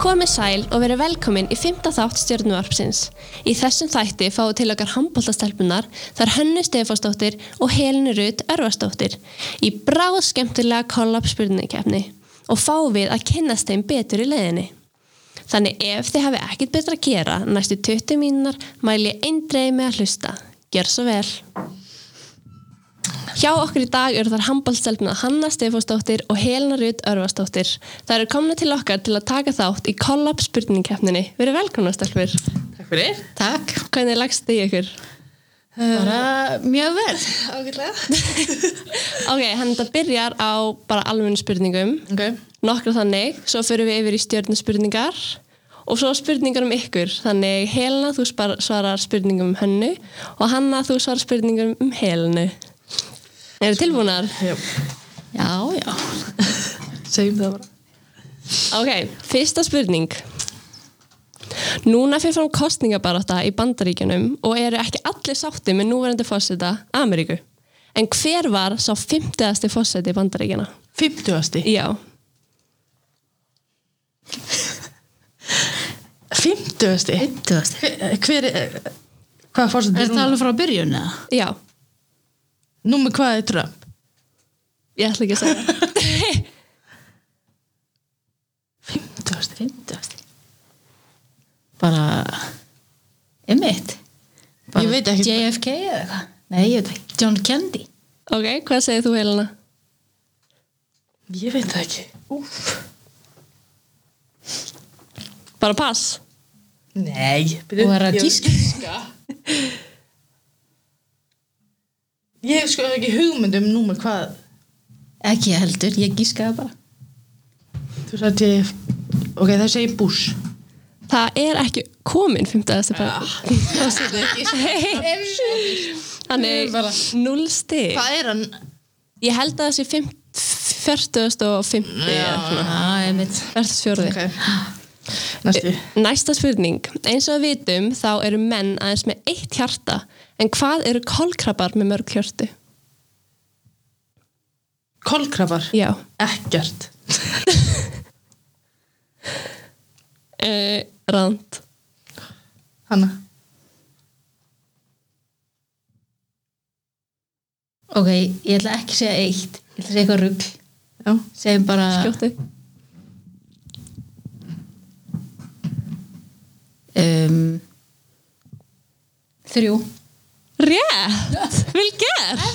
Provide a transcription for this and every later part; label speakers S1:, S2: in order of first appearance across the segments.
S1: Komið sæl og verið velkomin í fymta þátt stjórnuvarpsins. Í þessum þætti fáu til okkar handbóltastelpunar þar Hönnu Stefánsdóttir og Helinu Rut Örvarsdóttir í bráð skemmtilega kollabspurningkefni og fáum við að kynnast þeim betur í leiðinni. Þannig ef þið hafið ekkit betra að gera næstu 20 mínunar mæli ég eindreið með að hlusta. Gjör svo vel! Hjá okkur í dag eru þar handbóltstelpna Hanna Stefánsdóttir og Helena Rut Örvarsdóttir. Það eru komna til okkar til að taka þátt í kollab spurningkeppninni. Verið velkomna stelpur.
S2: Takk fyrir. Takk.
S1: Hvernig lagst þið í ykkur?
S2: Bara mjög vel.
S1: Ok, hann þetta byrjar á bara almennu spurningum.
S2: Ok.
S1: Nokkra þannig, svo förum við yfir í stjörnspurningar og svo spurningar um ykkur. Þannig Helena, þú spar- svarar spurningum um hönnu og Hanna, þú svarar spurningum um Helenu. Eru tilbúnar?
S2: Já,
S1: Já, já.
S2: segjum það bara.
S1: Ok, fyrsta spurning Núna fyrir fram kostningabarátta í bandaríkjunum og eru ekki allir sátti með núverandi fósita Ameríku. En hver var sá 50. fósiti bandaríkjana?
S2: 50.
S1: Já,
S2: 50.
S3: Fimmtugasti.
S2: Hver eh, er, hvað fórstu
S3: Er þetta alveg frá byrjun eða?
S1: já,
S2: Númer hvað er Trump?
S1: ég ætla ekki að segja það.
S2: 50.
S3: Fimmtugasti. Bara, einmitt. Bara
S2: Ég veit ekki.
S3: JFK eða eitthvað? Nei, ég veit ekki. John Candy.
S1: Ok, hvað segir þú Helena?
S2: Ég veit það ekki. Úf.
S1: Bara pass
S2: Nei.
S3: Þú er að gíska.
S2: Ég hef sko ekki hugmynd um númer hvað.
S3: Ekki ég heldur, ég gískaði bara.
S2: Þú sagði ég, ok, það segir Bush.
S1: Það er ekki komin
S2: Ah.
S1: 50. fósiti
S2: Það segir ekki.
S1: Þannig
S2: Bara-
S1: 0 stig
S2: Hvað er hann?
S1: Ég held að þessi 40. og 50.
S3: Já, Ah, einmitt.
S1: 44.
S2: Ok. Næstu.
S1: Næsta spurning. Eins og við vitum þá eru menn aðeins með eitt hjarta en hvað eru kolkrabbar með mörg hjörtu?
S2: Kolkrafar.
S1: Já.
S2: Ekkert.
S1: Uh, Rand.
S2: Hanna.
S3: Ok, ég ætla ekki að segja eitt. Ég ætla að segja eitthvað rugg.
S2: Já.
S3: Segjum bara,
S1: Skjóttu.
S3: um, þrjú.
S1: Rétt! Vel gert!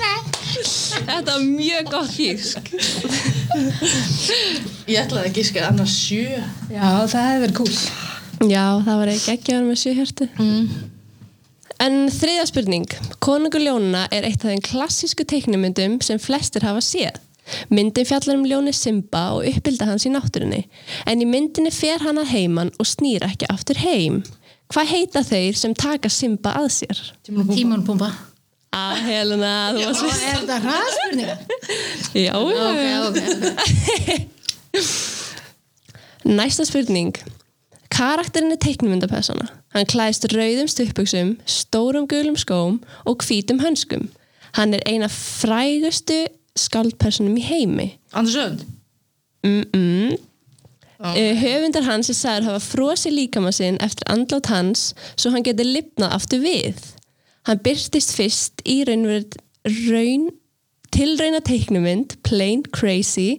S1: Þetta var mjög gott hísk.
S2: Ég ætlaði að gíska annars sjö.
S3: Já, það hefur verið kúl.
S1: Já, það var ekki ekki að vera með sjö hjörtu. En þriðja spurning. Konungur ljónana er eitt af þeim klassísku teiknumyndum sem flestir hafa séð. Myndin fjallar um ljóni Simba og uppbylda hans í náttúrunni. En í myndinni fer hann að heiman og snýr ekki aftur heim. Hvað heita þeir sem taka Simba að sér?
S2: Tímur og
S3: Tímon Pumba.
S1: Að Helena, þú varst veist.
S3: Er þetta hraðspurningar?
S1: Já,
S3: Ok,
S1: já.
S3: ok, ok.
S1: Næsta spurning. Karakterinn er teiknumyndapersona. Hann klæðist rauðum stuttbuxum, stórum gulum skóm og hvítum hönskum. Hann er eina frægustu skaldpersonum í heimi.
S2: Andersson?
S1: Uh, höfundar hans er sagður hafa frosið líkama sinn eftir andlát hans svo hann getur lifnað aftur við. Hann byrtist fyrst í raunverð raun, tilrauna teiknumynd Plain Crazy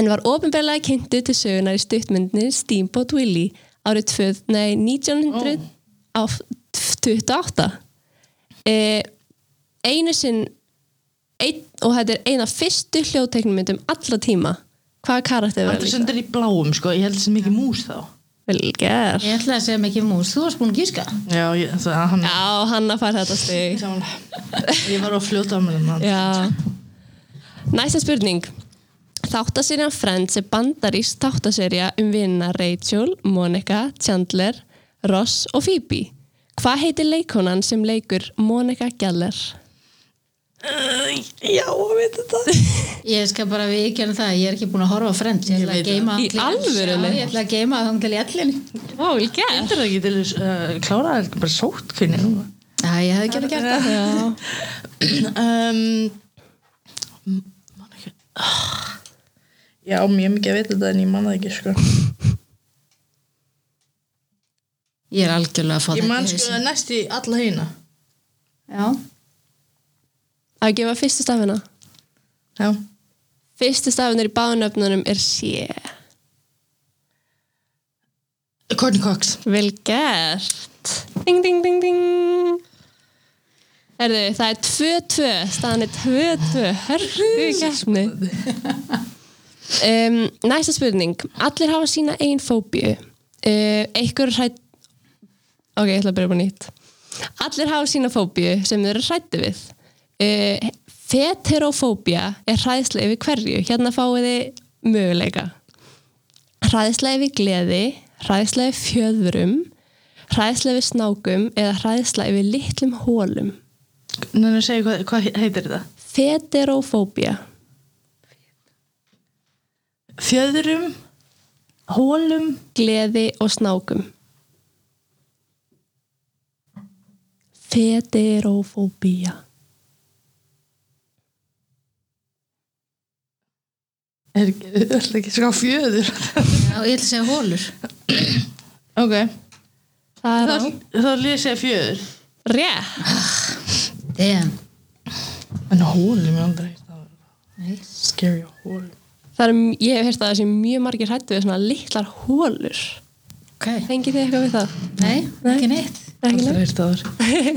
S1: en var ofinbeglega kynntu til sögunar í stuttmyndinni Steamboat Willie árið tvöð, nei, 1928. Uh, einu sinn ein, og þetta er eina fyrstu hljóðteiknumyndum alla tíma. Hvaða karakter verður?
S2: Andersson er í bláum sko, ég held sem ekki mús þá.
S1: Vel gert.
S3: Ég ætla að segja mikið mús. Þú varst búin að gíska.
S2: Já, ég, það er hann.
S1: Já, Hanna fær þetta stig.
S2: Ég var á fljóta með hann.
S1: Já. Næsta spurning. Þáttaserjan Friends er bandarísk þáttaserja um vinna Rachel, Monica, Chandler, Ross og Phoebe. Hvað heitir leikonan sem leikur Monica Geller?
S2: Já, ég veit þetta.
S3: Ég skal bara viðkjörna það, ég er ekki búin að horfa á Friends Ég
S2: Ég
S3: ætla að
S2: veit
S3: geima
S1: það. Í alvörunni?
S3: Já, ég ætla að geima það til í ellinni
S1: Ó, vel gert.
S2: Þetta er ekki til þess að klára það, bara sótt kynni núna.
S3: Já, ég hefði ekki gert það
S1: Já.
S2: Um, man ekki. Ah. Já, mjög mikið að veit þetta en ég manna ekki sko.
S3: Ég er algjörlega að
S2: Ég
S3: fá þetta
S2: man
S3: í
S2: sko
S3: hausinn.
S2: það næst í alla hýna
S3: Já,
S1: Að gefa fyrstu stafina.
S2: Já
S1: Fyrstu stafinar í báðunöfnunum er sé.
S2: Courtney Cox
S1: Vel gert. Ding, ding, ding, ding. Herðu, það er 2-2. Staðan er 2-2. Hörgu gætni. Um, næsta spurning. Allir hafa sína einn fóbíu. Uh, einhver hrætt... Ok, ég ætla að byrja upp á nýtt. Allir hafa sína fóbíu sem þeir eru hrættu við. Uh, Feterofóbía er hræðsla yfir hverju. Hérna fáið þið möguleika. Hræðsla yfir gleði, hræðsla yfir fjöðrum, hræðsla yfir snákum eða hræðsla yfir litlum hólum.
S2: Nenni að segja hvað, hvað heitir þetta
S1: Feterofóbía.
S2: Fjöðrum Hólum
S1: gleði og snákum Federofóbía
S2: Er er það ekki ská fjöður
S3: já ég ætla að segja hólur.
S2: Ok
S1: Það er á
S2: Þá, þá lýs ég fjöður
S1: Rétt
S3: Damn.
S2: En hólum er aldrei
S3: Nei.
S2: Scary hólum
S1: Það er, ég hef hérst að það sé mjög margir hættu við svona litlar hólur
S3: Ok.
S1: Fengið þið eitthvað við það?
S3: Nei, ekki neitt.
S1: Ekki neitt?
S2: staður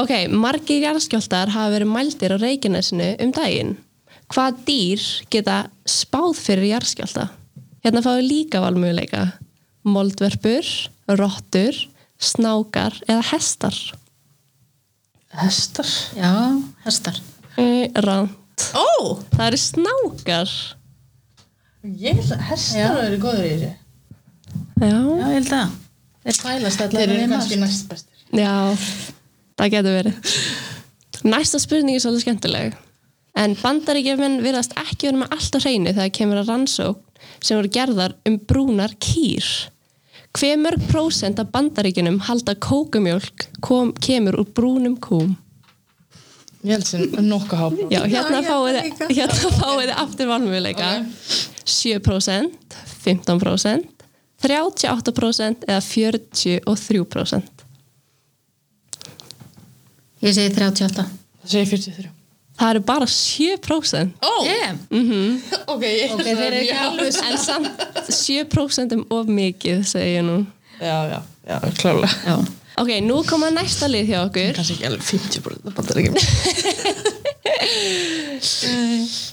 S1: Ok, margir jarðskjáltar hafa verið mældir á Reykjanesinu um daginn Hvað dýr geta spáð fyrir jarðskjálta? Hérna fáið líka valmöguleika Moldverpur, rottur, snákar eða hestar
S2: Hestar
S3: Já, hestar.
S1: Eh, Ránt.
S2: Ó oh!
S1: Það eru snákar.
S2: Ég held að hestar eru góður í þessu
S1: Já.
S3: Já, ég held að. Þeir fælast allar
S2: Þeir eru
S3: við
S2: kannski
S3: margt.
S2: næst bestir
S1: Já, það getur verið. Næsta spurning er svolítið skemmtileg. En bandaríkjafinn virðast ekki verið með allt á hreinu þegar kemur að rannsókn sem voru gerðar um brúnar kýr. Hver mörg prósent af bandaríkjunum halda kókumjólk kom, kemur úr brúnum kúm?
S2: Ég held sem nokka há
S1: Já, hérna
S3: hérna
S1: fáið
S3: líka.
S1: hérna fáið þið aftur valmjöleika 7%, 15% 38% eða 43%
S3: Ég segi 38.
S2: Það segir 43
S1: Það eru bara 7%
S2: Ó
S3: Damn.
S2: Ok, ég
S3: Ok, þeir eru ekki alveg.
S1: en samt 7% um of mikið segi ég nú
S2: Já, já, já, klála
S3: Já.
S1: Ok, nú koma næsta lið hjá okkur
S2: Kanski ekki alveg 50 bara Það bandar ekki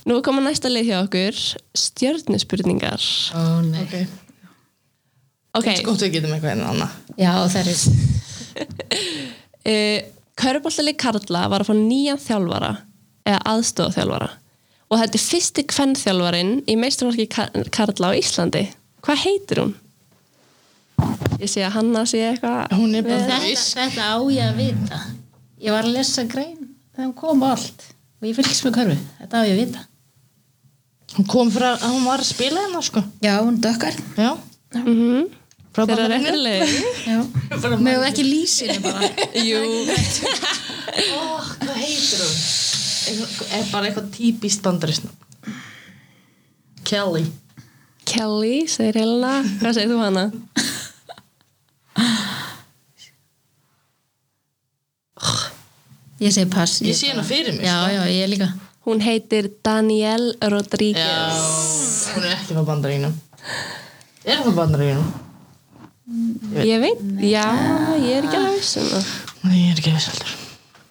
S1: Nú koma næsta lið hjá okkur Stjörnuspurningar
S3: Ó, nei.
S2: Ok
S1: Ok,
S2: Gott við getum eitthvað hérna, en annað
S3: Já, það eru.
S1: uh, Körbóltalið Karla var að fá nýjan þjálfara eða aðstofþjálfara og þetta er fyrsti kvennþjálfarin í meisturvarki Karla á Íslandi hvað heitir hún? ég sé að Hanna sé eitthvað
S2: Hún er bara
S3: Þetta, þetta á ég að vita Ég var að lesa grein þegar hún kom og allt og ég fylgist með körfu, þetta á ég að vita
S2: Hún kom frá að hún var að spila hérna sko
S3: Já, hún dökkar
S2: Já
S1: mm -hmm.
S2: Frá
S1: þeirra
S2: Bandaríkjunum.
S1: réttileg
S3: Mögum ekki lýsinu bara
S1: jú,
S2: Ó, hvað heitir hún? Eitthvað- Er bara eitthvað típist bandaristna Kelly
S1: Kelly segir Helena, hvað segir þú Hanna?
S3: Ég segi pass
S2: Ég sé hana fyrir mér, sko.
S3: Já, já, ég líka
S1: hún heitir Danielle Rodríguez
S2: Hún er ekki frá bandaríknum Er hún frá bandaríknum?
S1: ég veit, já, ég er ekki alveg viss um það
S2: Nei, ég er ekki viss heldur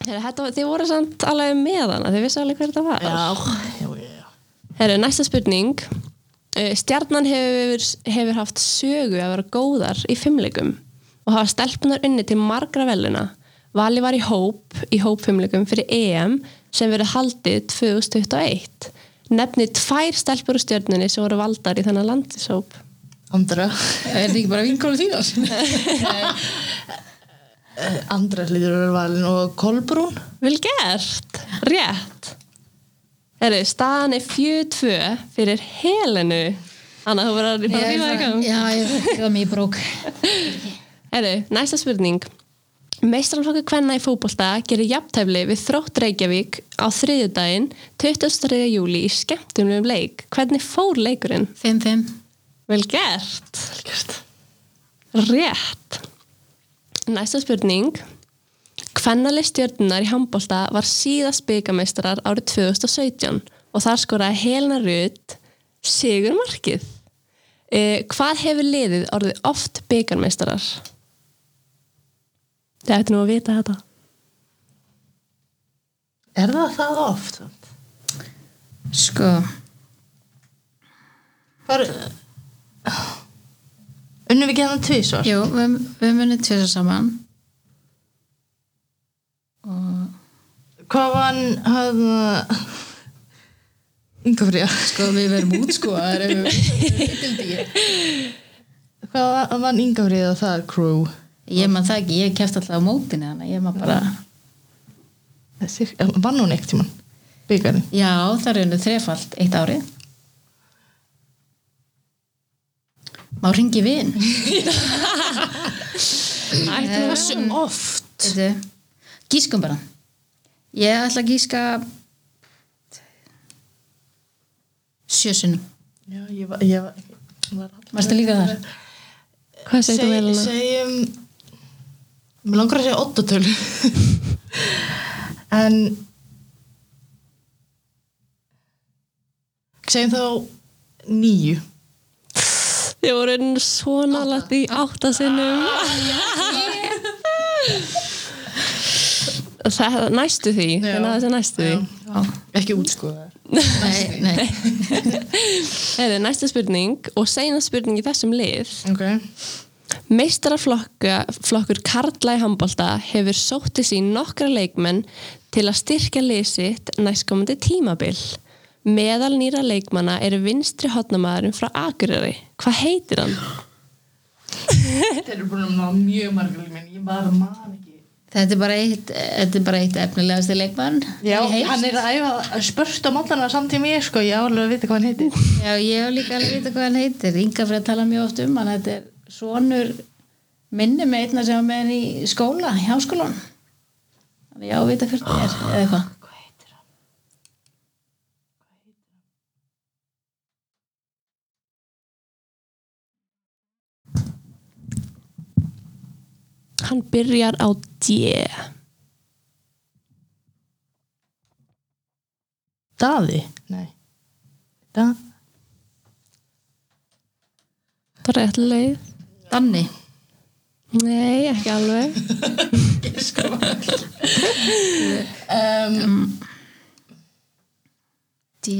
S1: Heyrðu, þetta var- þið voru samt alveg með hana þið vissu alveg hver þetta var
S2: Já, já, já
S1: Herru, næsta spurning. Eh, Stjarnan hefur, hefur haft sögu að vera góðar í fimmleikum og hafa stelpunar unni til margra veluna. Vali var í hóp, í hópfimmleikum fyrir EM sem verið haldið 2021. Nefnið tvær stelpur úr stjörnunni sem voru valdar í þennan landishóp.
S2: Andra
S3: Er þetta ekki bara vinkólu þínar?
S2: Eh, Andra hlýtur að vera valin og Kolbrún
S1: Vel gert! Rétt! Herru, staðan er 4-2 fyrir Helenu. Anna, þú verður bara að rífa um. í gang.
S3: Já, ég ég var mér í brók
S1: Herru, næsta spurning Meistranflokku kvenna í fótbolta gerir jafntæfli við þrótt Reykjavík á þriðjudaginn 23. júli í skemmtumlum leik. Hvernig fór leikurinn?
S3: 5-5
S1: Vel gert!
S2: Velgjast
S1: Rétt. Næsta spurning. Kvennali stjörnunar í handbólta var síðast byggameistrar árið 2017 og þar skoraði Helena Rut sigur markið. Eh, hvað hefur liðið orðið oft byggameistrar? Þið ætti nú að vita þetta.
S2: Er það það oft? samt?
S3: Sko,
S2: Bara Unnum við ekki hann tvisvar?
S3: jú, við, við munum tvisar saman.
S2: Hvað var hann eh, hann Yngafriða
S3: Sko, við verum út, sko, það er við...
S2: Hvað var hann Yngafriða og það er crew?
S3: Ég maður það ekki, ég kæft alltaf á mótinu þannig, að ég maður bara...
S2: Þessi- eh, Vann hún eitt tímann? Byggarinn?
S3: Já, það er unnu þrefald eitt árið. Má ringi vin.
S1: Ætti nú að
S2: Þessu oft
S3: Þetta, gískum bara. Ég ætla að gíska... Sjösunum.
S2: Já, ég var, ég var, ég var alltaf
S3: Varstu líka þar?
S1: Hvað segir þú
S2: um
S1: Helena?
S2: Segjum Mér langar að segja 8 tölu En Segjum þá 9
S1: Þið voru svona látt í áttasinnum. Það næstu því,
S2: Já.
S1: það náðu þessi næstu því.
S3: Já.
S2: Ekki útskoðar
S3: Nei, nei.
S1: Eða næsta spurning og seinast spurning í þessum lið.
S2: Ok
S1: Meistaraflokkur Karla í handbolta hefur sótti sín nokkra leikmenn til að styrkja lið sitt næstkomandi tímabil. Meðal nýra leikmanna er vinstri hotnamaðurinn frá Akureyri. Hvað heitir hann?
S2: Þeir eru búin að ná mjög margar leikmenn Ég bara man ekki
S3: Þetta er bara eitt, þetta er bara eitt efnilegasti leikmann.
S2: Já,
S3: Ég heilt.
S2: hann er að æfa spörst á mótana samtími ég sko, ég á alveg að vita hvað hann heitir
S3: Já, ég hef líka alveg vita hvað hann heitir. Inga fyrir að tala mjög oft um hann. Þetta er sonur minni með einna sem var með hann í skóla, í háskólan. Þannig já, vita hver það er, eða hvað.
S2: Hvað heitir hann?
S1: Hann byrjar á D.
S2: Daði? Nei Da
S1: Það er rétt leið.
S3: Danni.
S1: Nei, ekki alveg.
S2: um,
S3: D.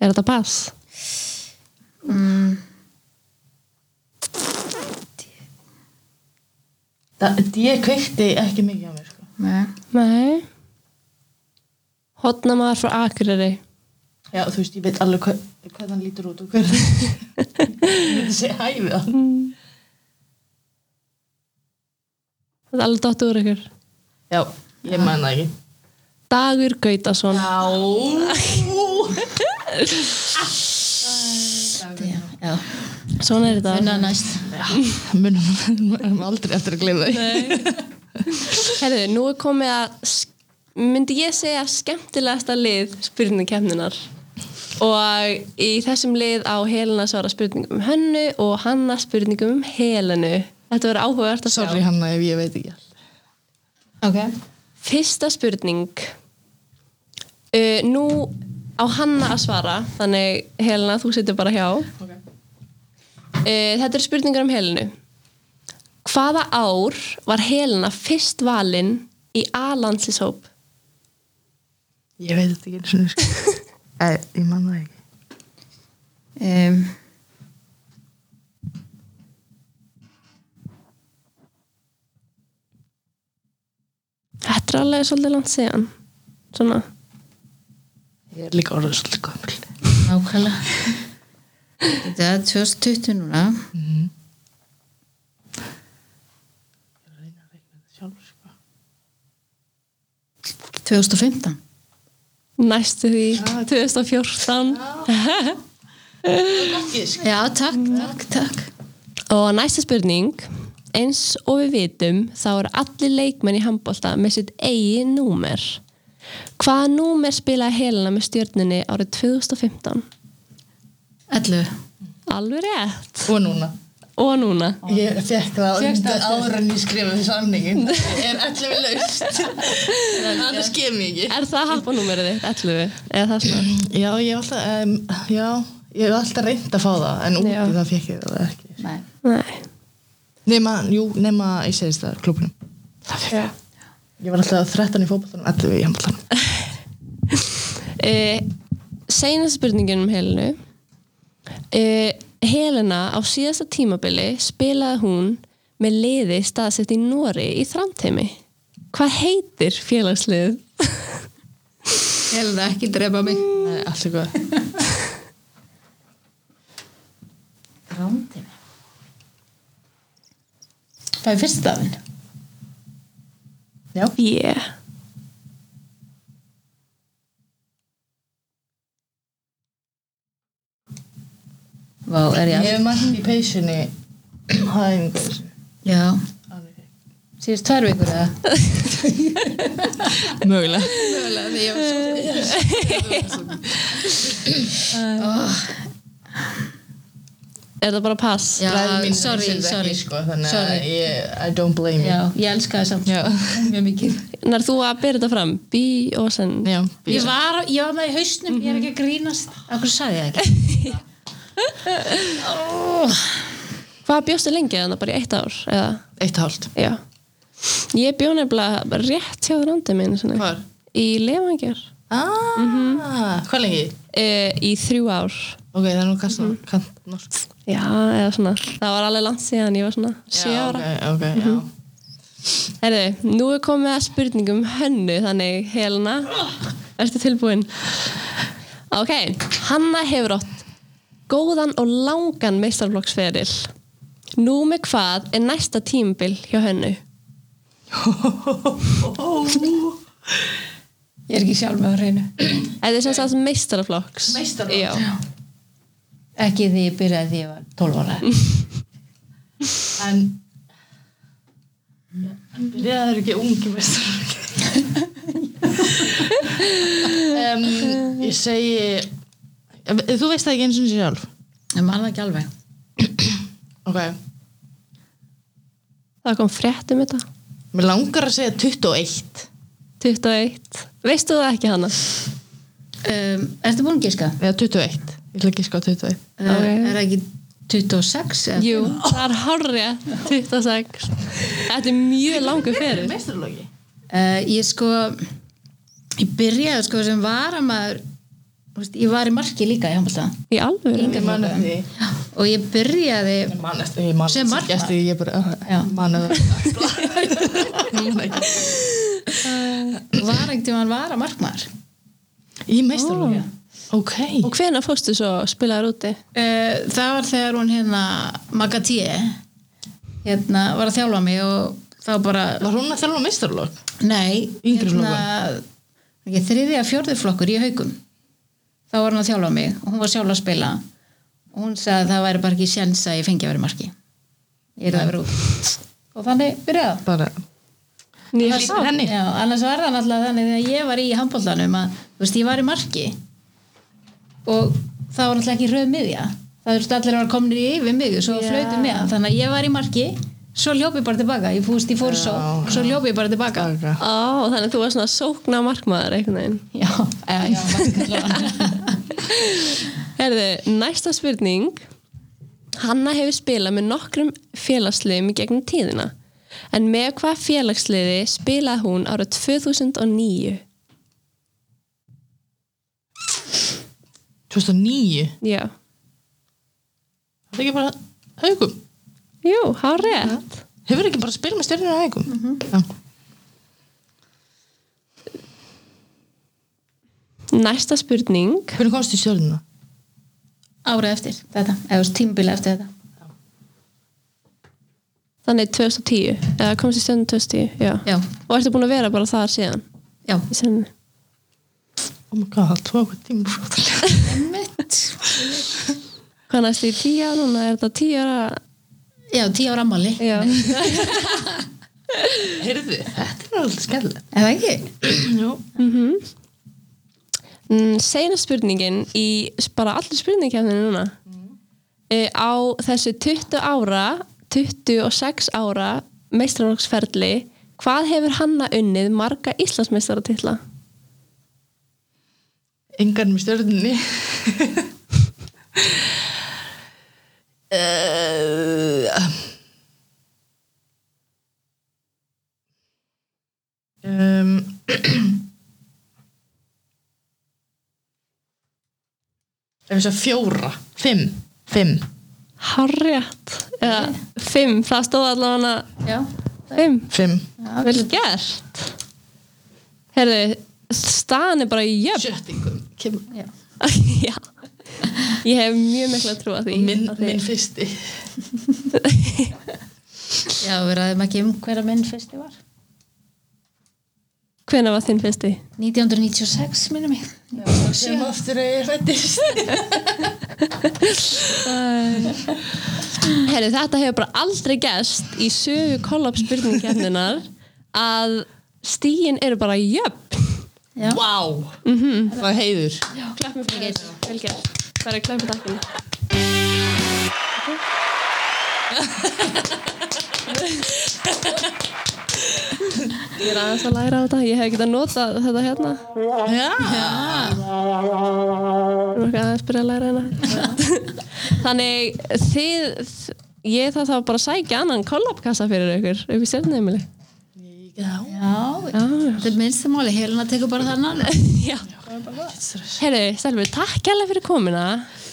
S1: Er þetta pass?
S3: Mm,
S2: da, Ég kveikti ekki mikið á mér sko
S3: nei.
S1: Nei. Hotnamaður frá Akureyri.
S2: Já, þú veist, ég veit alveg hva, hvað hann lítur út og hver Ég myndi segja hæfið hann
S1: Þetta er alveg dott úr ykkur.
S2: Já, ég man það ekki
S1: Dagur Gautason.
S2: Já
S3: D. Já,
S1: Svona er þetta.
S3: unna næst.
S2: Munum um aldrei eftir að gleyma því
S1: Herðu, nú er komið að sk- myndi ég segja skemmtilegasta lið spurningkeppninar og í þessum lið á Helena svara spurningum um hönnu og Hanna spurningum um Helenu Þetta verður áhugavert að sjá
S2: Sorry Hanna ef ég veit ekki allt
S3: Ok.
S1: Fyrsta spurning uh, Nú á Hanna að svara þannig Helena, þú situr bara hjá
S2: okay.
S1: uh, Þetta eru spurningar um Helenu Hvaða ár var Helena fyrst valin í A-landslishóp?
S2: Ég veit þetta ekki eins og sko Æ, Ég man það ekki
S3: Um,
S1: Þetta er alveg svolítið langt síðan Svona
S2: Ég er líka orðið svolítið gömul
S3: nákvæmlega. Þetta er 2020 núna. Mhm.
S2: Ég reyna að reikna þetta sjálf sko
S3: 2015.
S1: næstu því 2014
S2: Gísk
S3: Já, takk, takk, takk.
S1: og næsta spurning eins og við vitum þá eru allir leikmenn í handbólta með sitt eigin númer hvaða númer spilaði Helena með stjörnunni árið 2015?
S3: 11.
S1: Alveg rétt.
S2: og núna
S1: Og núna.
S2: Ég fekk það
S3: Fékkst
S2: undir
S3: það
S2: áður en ég skrifaði samningin er allir laust annars kemur ég ekki
S1: Er það happanúmerið þitt, 11? Eða það svona?
S2: Já, ég hef alltaf um, já, ég hef alltaf reynd að fá það en úti
S1: Já.
S2: það fekk ég það ekki
S3: Nei.
S1: Nei.
S2: nema, jú, nema ég segist það klubunum það fekk ég Ég var alltaf 13 í fótbollanum, 11 í handbollanum.
S1: Uh, Seinast spurningin um Helenu. Uh, Helena á síðasta tímabili spilaði hún með liði staðsett í Nóri í þramteimi. Hvað heitir félagslið?
S3: Helena, ekki drepa mig.
S2: Nei, allt er góð.
S3: Rándi mig. Það er fyrst stafinn.
S2: Já,
S1: Yeah.
S3: Vá, er
S2: ég
S3: ég að...
S2: hef mætt í peysunni hæðin
S3: Já. Síðust tvær vikur eða?
S2: Mögulega.
S3: Mögulega, því ég var svo...
S1: Er það bara pass?
S3: Já,
S2: Bræður mín
S3: sorry,
S2: vissi þetta
S3: sorry.
S2: ekki, sko, þannig
S3: Sorry.
S2: að ég, I don't blame you.
S3: Já, ég elska það samt.
S2: Já.
S3: Mjög mikið.
S1: Nær þú að byrja þetta fram? B og sen...
S2: Já,
S3: Ég var, ég var með í hausnum, ég er ekki að grínast. Akkur Mhm. sagði ég það ekki?
S1: Hvað bjóstu lengi þannig bara í eitt ár? Eða?
S2: eitt hálft.
S1: Já. Ég bjó nefnilega rétt hjá þrandemi einu sinni.
S2: Hvar?
S1: Í lefangjar.
S2: Ah, hvað lengi?
S1: Uh, í þrjú ár.
S2: Ok, það er nú kannski mm -hmm. norsk.
S1: Já, eða svona, það var alveg langt síðan ég var svona 7 ára.
S2: Ok, ok, já.
S1: Herðu, nú er komið að spurningum hönnu, þannig Helena, ertu tilbúin? Ok, Hanna hefur átt góðan og langan meistarflokksferil. Nú með hvað er næsta tímbil hjá hönnu?
S3: Ég er ekki sjálf með á hreinu.
S1: Þetta er sem sagt meistarflokks.
S4: Meistaraflokks.
S1: Já,
S3: Ekki því ég byrjaði því ég var 12 ára.
S2: En, það eru ekki ungi mestar. um, ég segi, eh, þú veist það ekki eins og sjálf.
S3: Ég man það ekki alveg.
S2: Ok,
S1: það kom frétt um þetta.
S2: mér langar að segja 21.
S1: 21. Veistu það ekki Hanna?
S3: Um, ertu búin að giska?
S2: Eða 21. Ég ætla ekki sko 21.
S3: Okay. Er það ekki 26? eða?
S1: Jú, það er hárja 26. Þetta er mjög langu feril.
S2: Mestarlogi?
S3: Uh, ég sko ég byrjaði sko sem varamaður þú veist, ég var í marki líka í handbólta
S1: Í alvöru?
S2: Ég man eftir því.
S3: og ég byrjaði Eh,
S2: Ég man eftir því, ég man
S3: Sem
S2: eftir
S3: markmaður?
S2: því, eftir því, ég bara,
S3: Já.
S2: uh, man eftir því. Ég man ekki.
S3: var ekkert tíma hann var að markmaður
S2: Í mestarlogi? Ok.
S1: Og hvena fórstu svo spilaður úti?
S3: uh, það var þegar hún hérna Magatíe hérna var að þjálfa mig og þá bara
S2: Var hún að þjálfa mestarlog?
S3: nei,
S2: Yngri
S3: Hérna, ekki, þriðja fjórðurflokkur í haugum þá var hann að þjálfa mig og hún var sjálf að spila og hún sagði að það væri bara ekki sjens að ég fengi að vera í marki ég er að vera út og þannig byrjaði það
S2: Bara,
S1: Nýja
S3: Annars- Já, annars var það náttúrulega þannig þegar ég var í handbóltanum að, þú veist, ég var í marki og það var náttúrulega ekki röð miðja það þurfti allir að vera komnir í yfir miðju svo
S1: Já.
S3: flautum með, þannig að ég var í marki svo ljópi ég bara tilbaka, ég fúst í fórsó svo ljópi ég bara tilbaka
S2: bara.
S1: Ó, þannig að þú var svona sókna markmaður einhvern veginn.
S3: Já, eða, já,
S1: Herðu, næsta spurning. Hanna hefur spilað með nokkrum félagsliðum í gegnum tíðina. En með hvað félagsliði spilaði hún ára 2009?
S2: 2009?
S1: Já.
S2: Það er ekki bara haugum.
S1: Jú, hár rétt.
S2: Hefur ekki bara spil með stjörnir á haugum? Já.
S1: Næsta spurning.
S2: Hvernig komst þið stjörnina?
S3: árið eftir þetta, eða tímbili eftir þetta
S1: Þannig 2010. Eða komst í stjórnum 2010, já.
S3: Já,
S1: Og ertu búin að vera bara þar síðan?
S3: já,
S1: Í senni?
S2: Oh my god, það tók að tíma frá það.
S3: mitt
S1: Hvað næstu í tíu ára núna? Er þetta tíu ára?
S3: Já, tíu ára ammali,
S1: Já.
S2: Heyrðu, þetta er alveg skellilegt.
S3: eða ekki?
S2: Jú.
S1: Mm, Seina spurningin í bara allir spurningkefninu núna. uh, á þessu 20 ára 26 ára meistrarvoksferli hvað hefur hanna unnið marga Íslandsmeistaratitla?
S5: engan með stjörnunni
S2: Ehm.
S5: uh, um, ef þess að fjóra fimm, fimm
S1: Hárjætt eða fimm, það stóð allavega
S3: Já,
S1: fimm
S5: fimm,
S3: já,
S1: Vel gert Herðu, staðan er bara í jöfn
S5: sjöttingum Kem,
S3: já.
S1: Já Ég hef mjög mikla trú að því
S5: minn,
S1: Að því-
S5: minn fyrsti
S3: já við ræðum ekki um hverja minn fyrsti var
S1: Hvenær var þinn fyrsti?
S3: 1996 minnum mig
S5: sem aftur að ég fættist
S1: Herru, þetta hefur bara aldrei gæst í sögu kollab spurningkefninar að stíin eru bara jöfn
S3: Já.
S5: wow, það var heiður
S1: Klappum fyrir þér, vel gert Það er klappum takkinu Ég er aðeins að læra á þetta Ég hef ekki að nota þetta hérna Ég er ekki aðeins byrja að læra hérna Þannig þið Ég þarf þá bara að sækja annan kollabkassa fyrir ykkur upp í stjórnheimili
S5: já,
S3: Já,
S1: Já,
S3: þetta er minnsta máli, Helena tekur bara þannan
S1: já. Herru, Stelvi, takk hella fyrir komina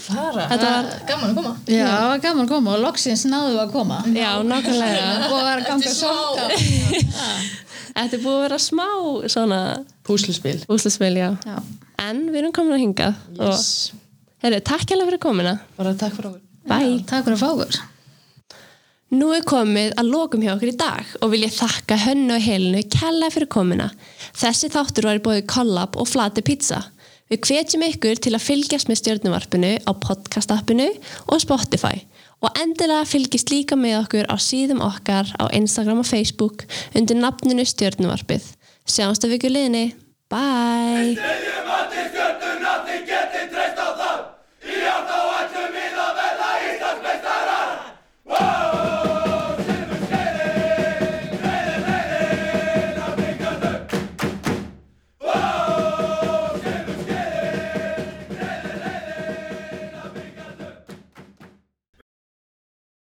S5: bara
S1: Þetta var,
S5: gaman að koma
S3: Já, það var gaman að koma og loksins náðu að koma
S1: já, nákvæmlega
S3: og var að ganga svolítið
S1: Þetta er búið að vera smá svona
S5: púsluspil
S1: úslismil, já
S3: Já,
S1: En við erum komin að hinga yes. Herru, takk hella fyrir komina
S5: bara takk fyrir okkur
S1: Bye
S3: Já, takk fyrir að fá okkur
S1: Nú er komið að lokum hjá okkur í dag og vil ég þakka hönnu og helinu kella fyrir komuna. Þessi þáttur var í bóði Collab og Flati Pizza. Við hvetjum ykkur til að fylgjast með stjórnumarpinu á podcastappinu og Spotify og endilega fylgist líka með okkur á síðum okkar á Instagram og Facebook undir nafninu stjórnumarpið. Sjáumst að viku liðinni. Bye!
S6: Segjum allir stjörnur, allir getið treyst á það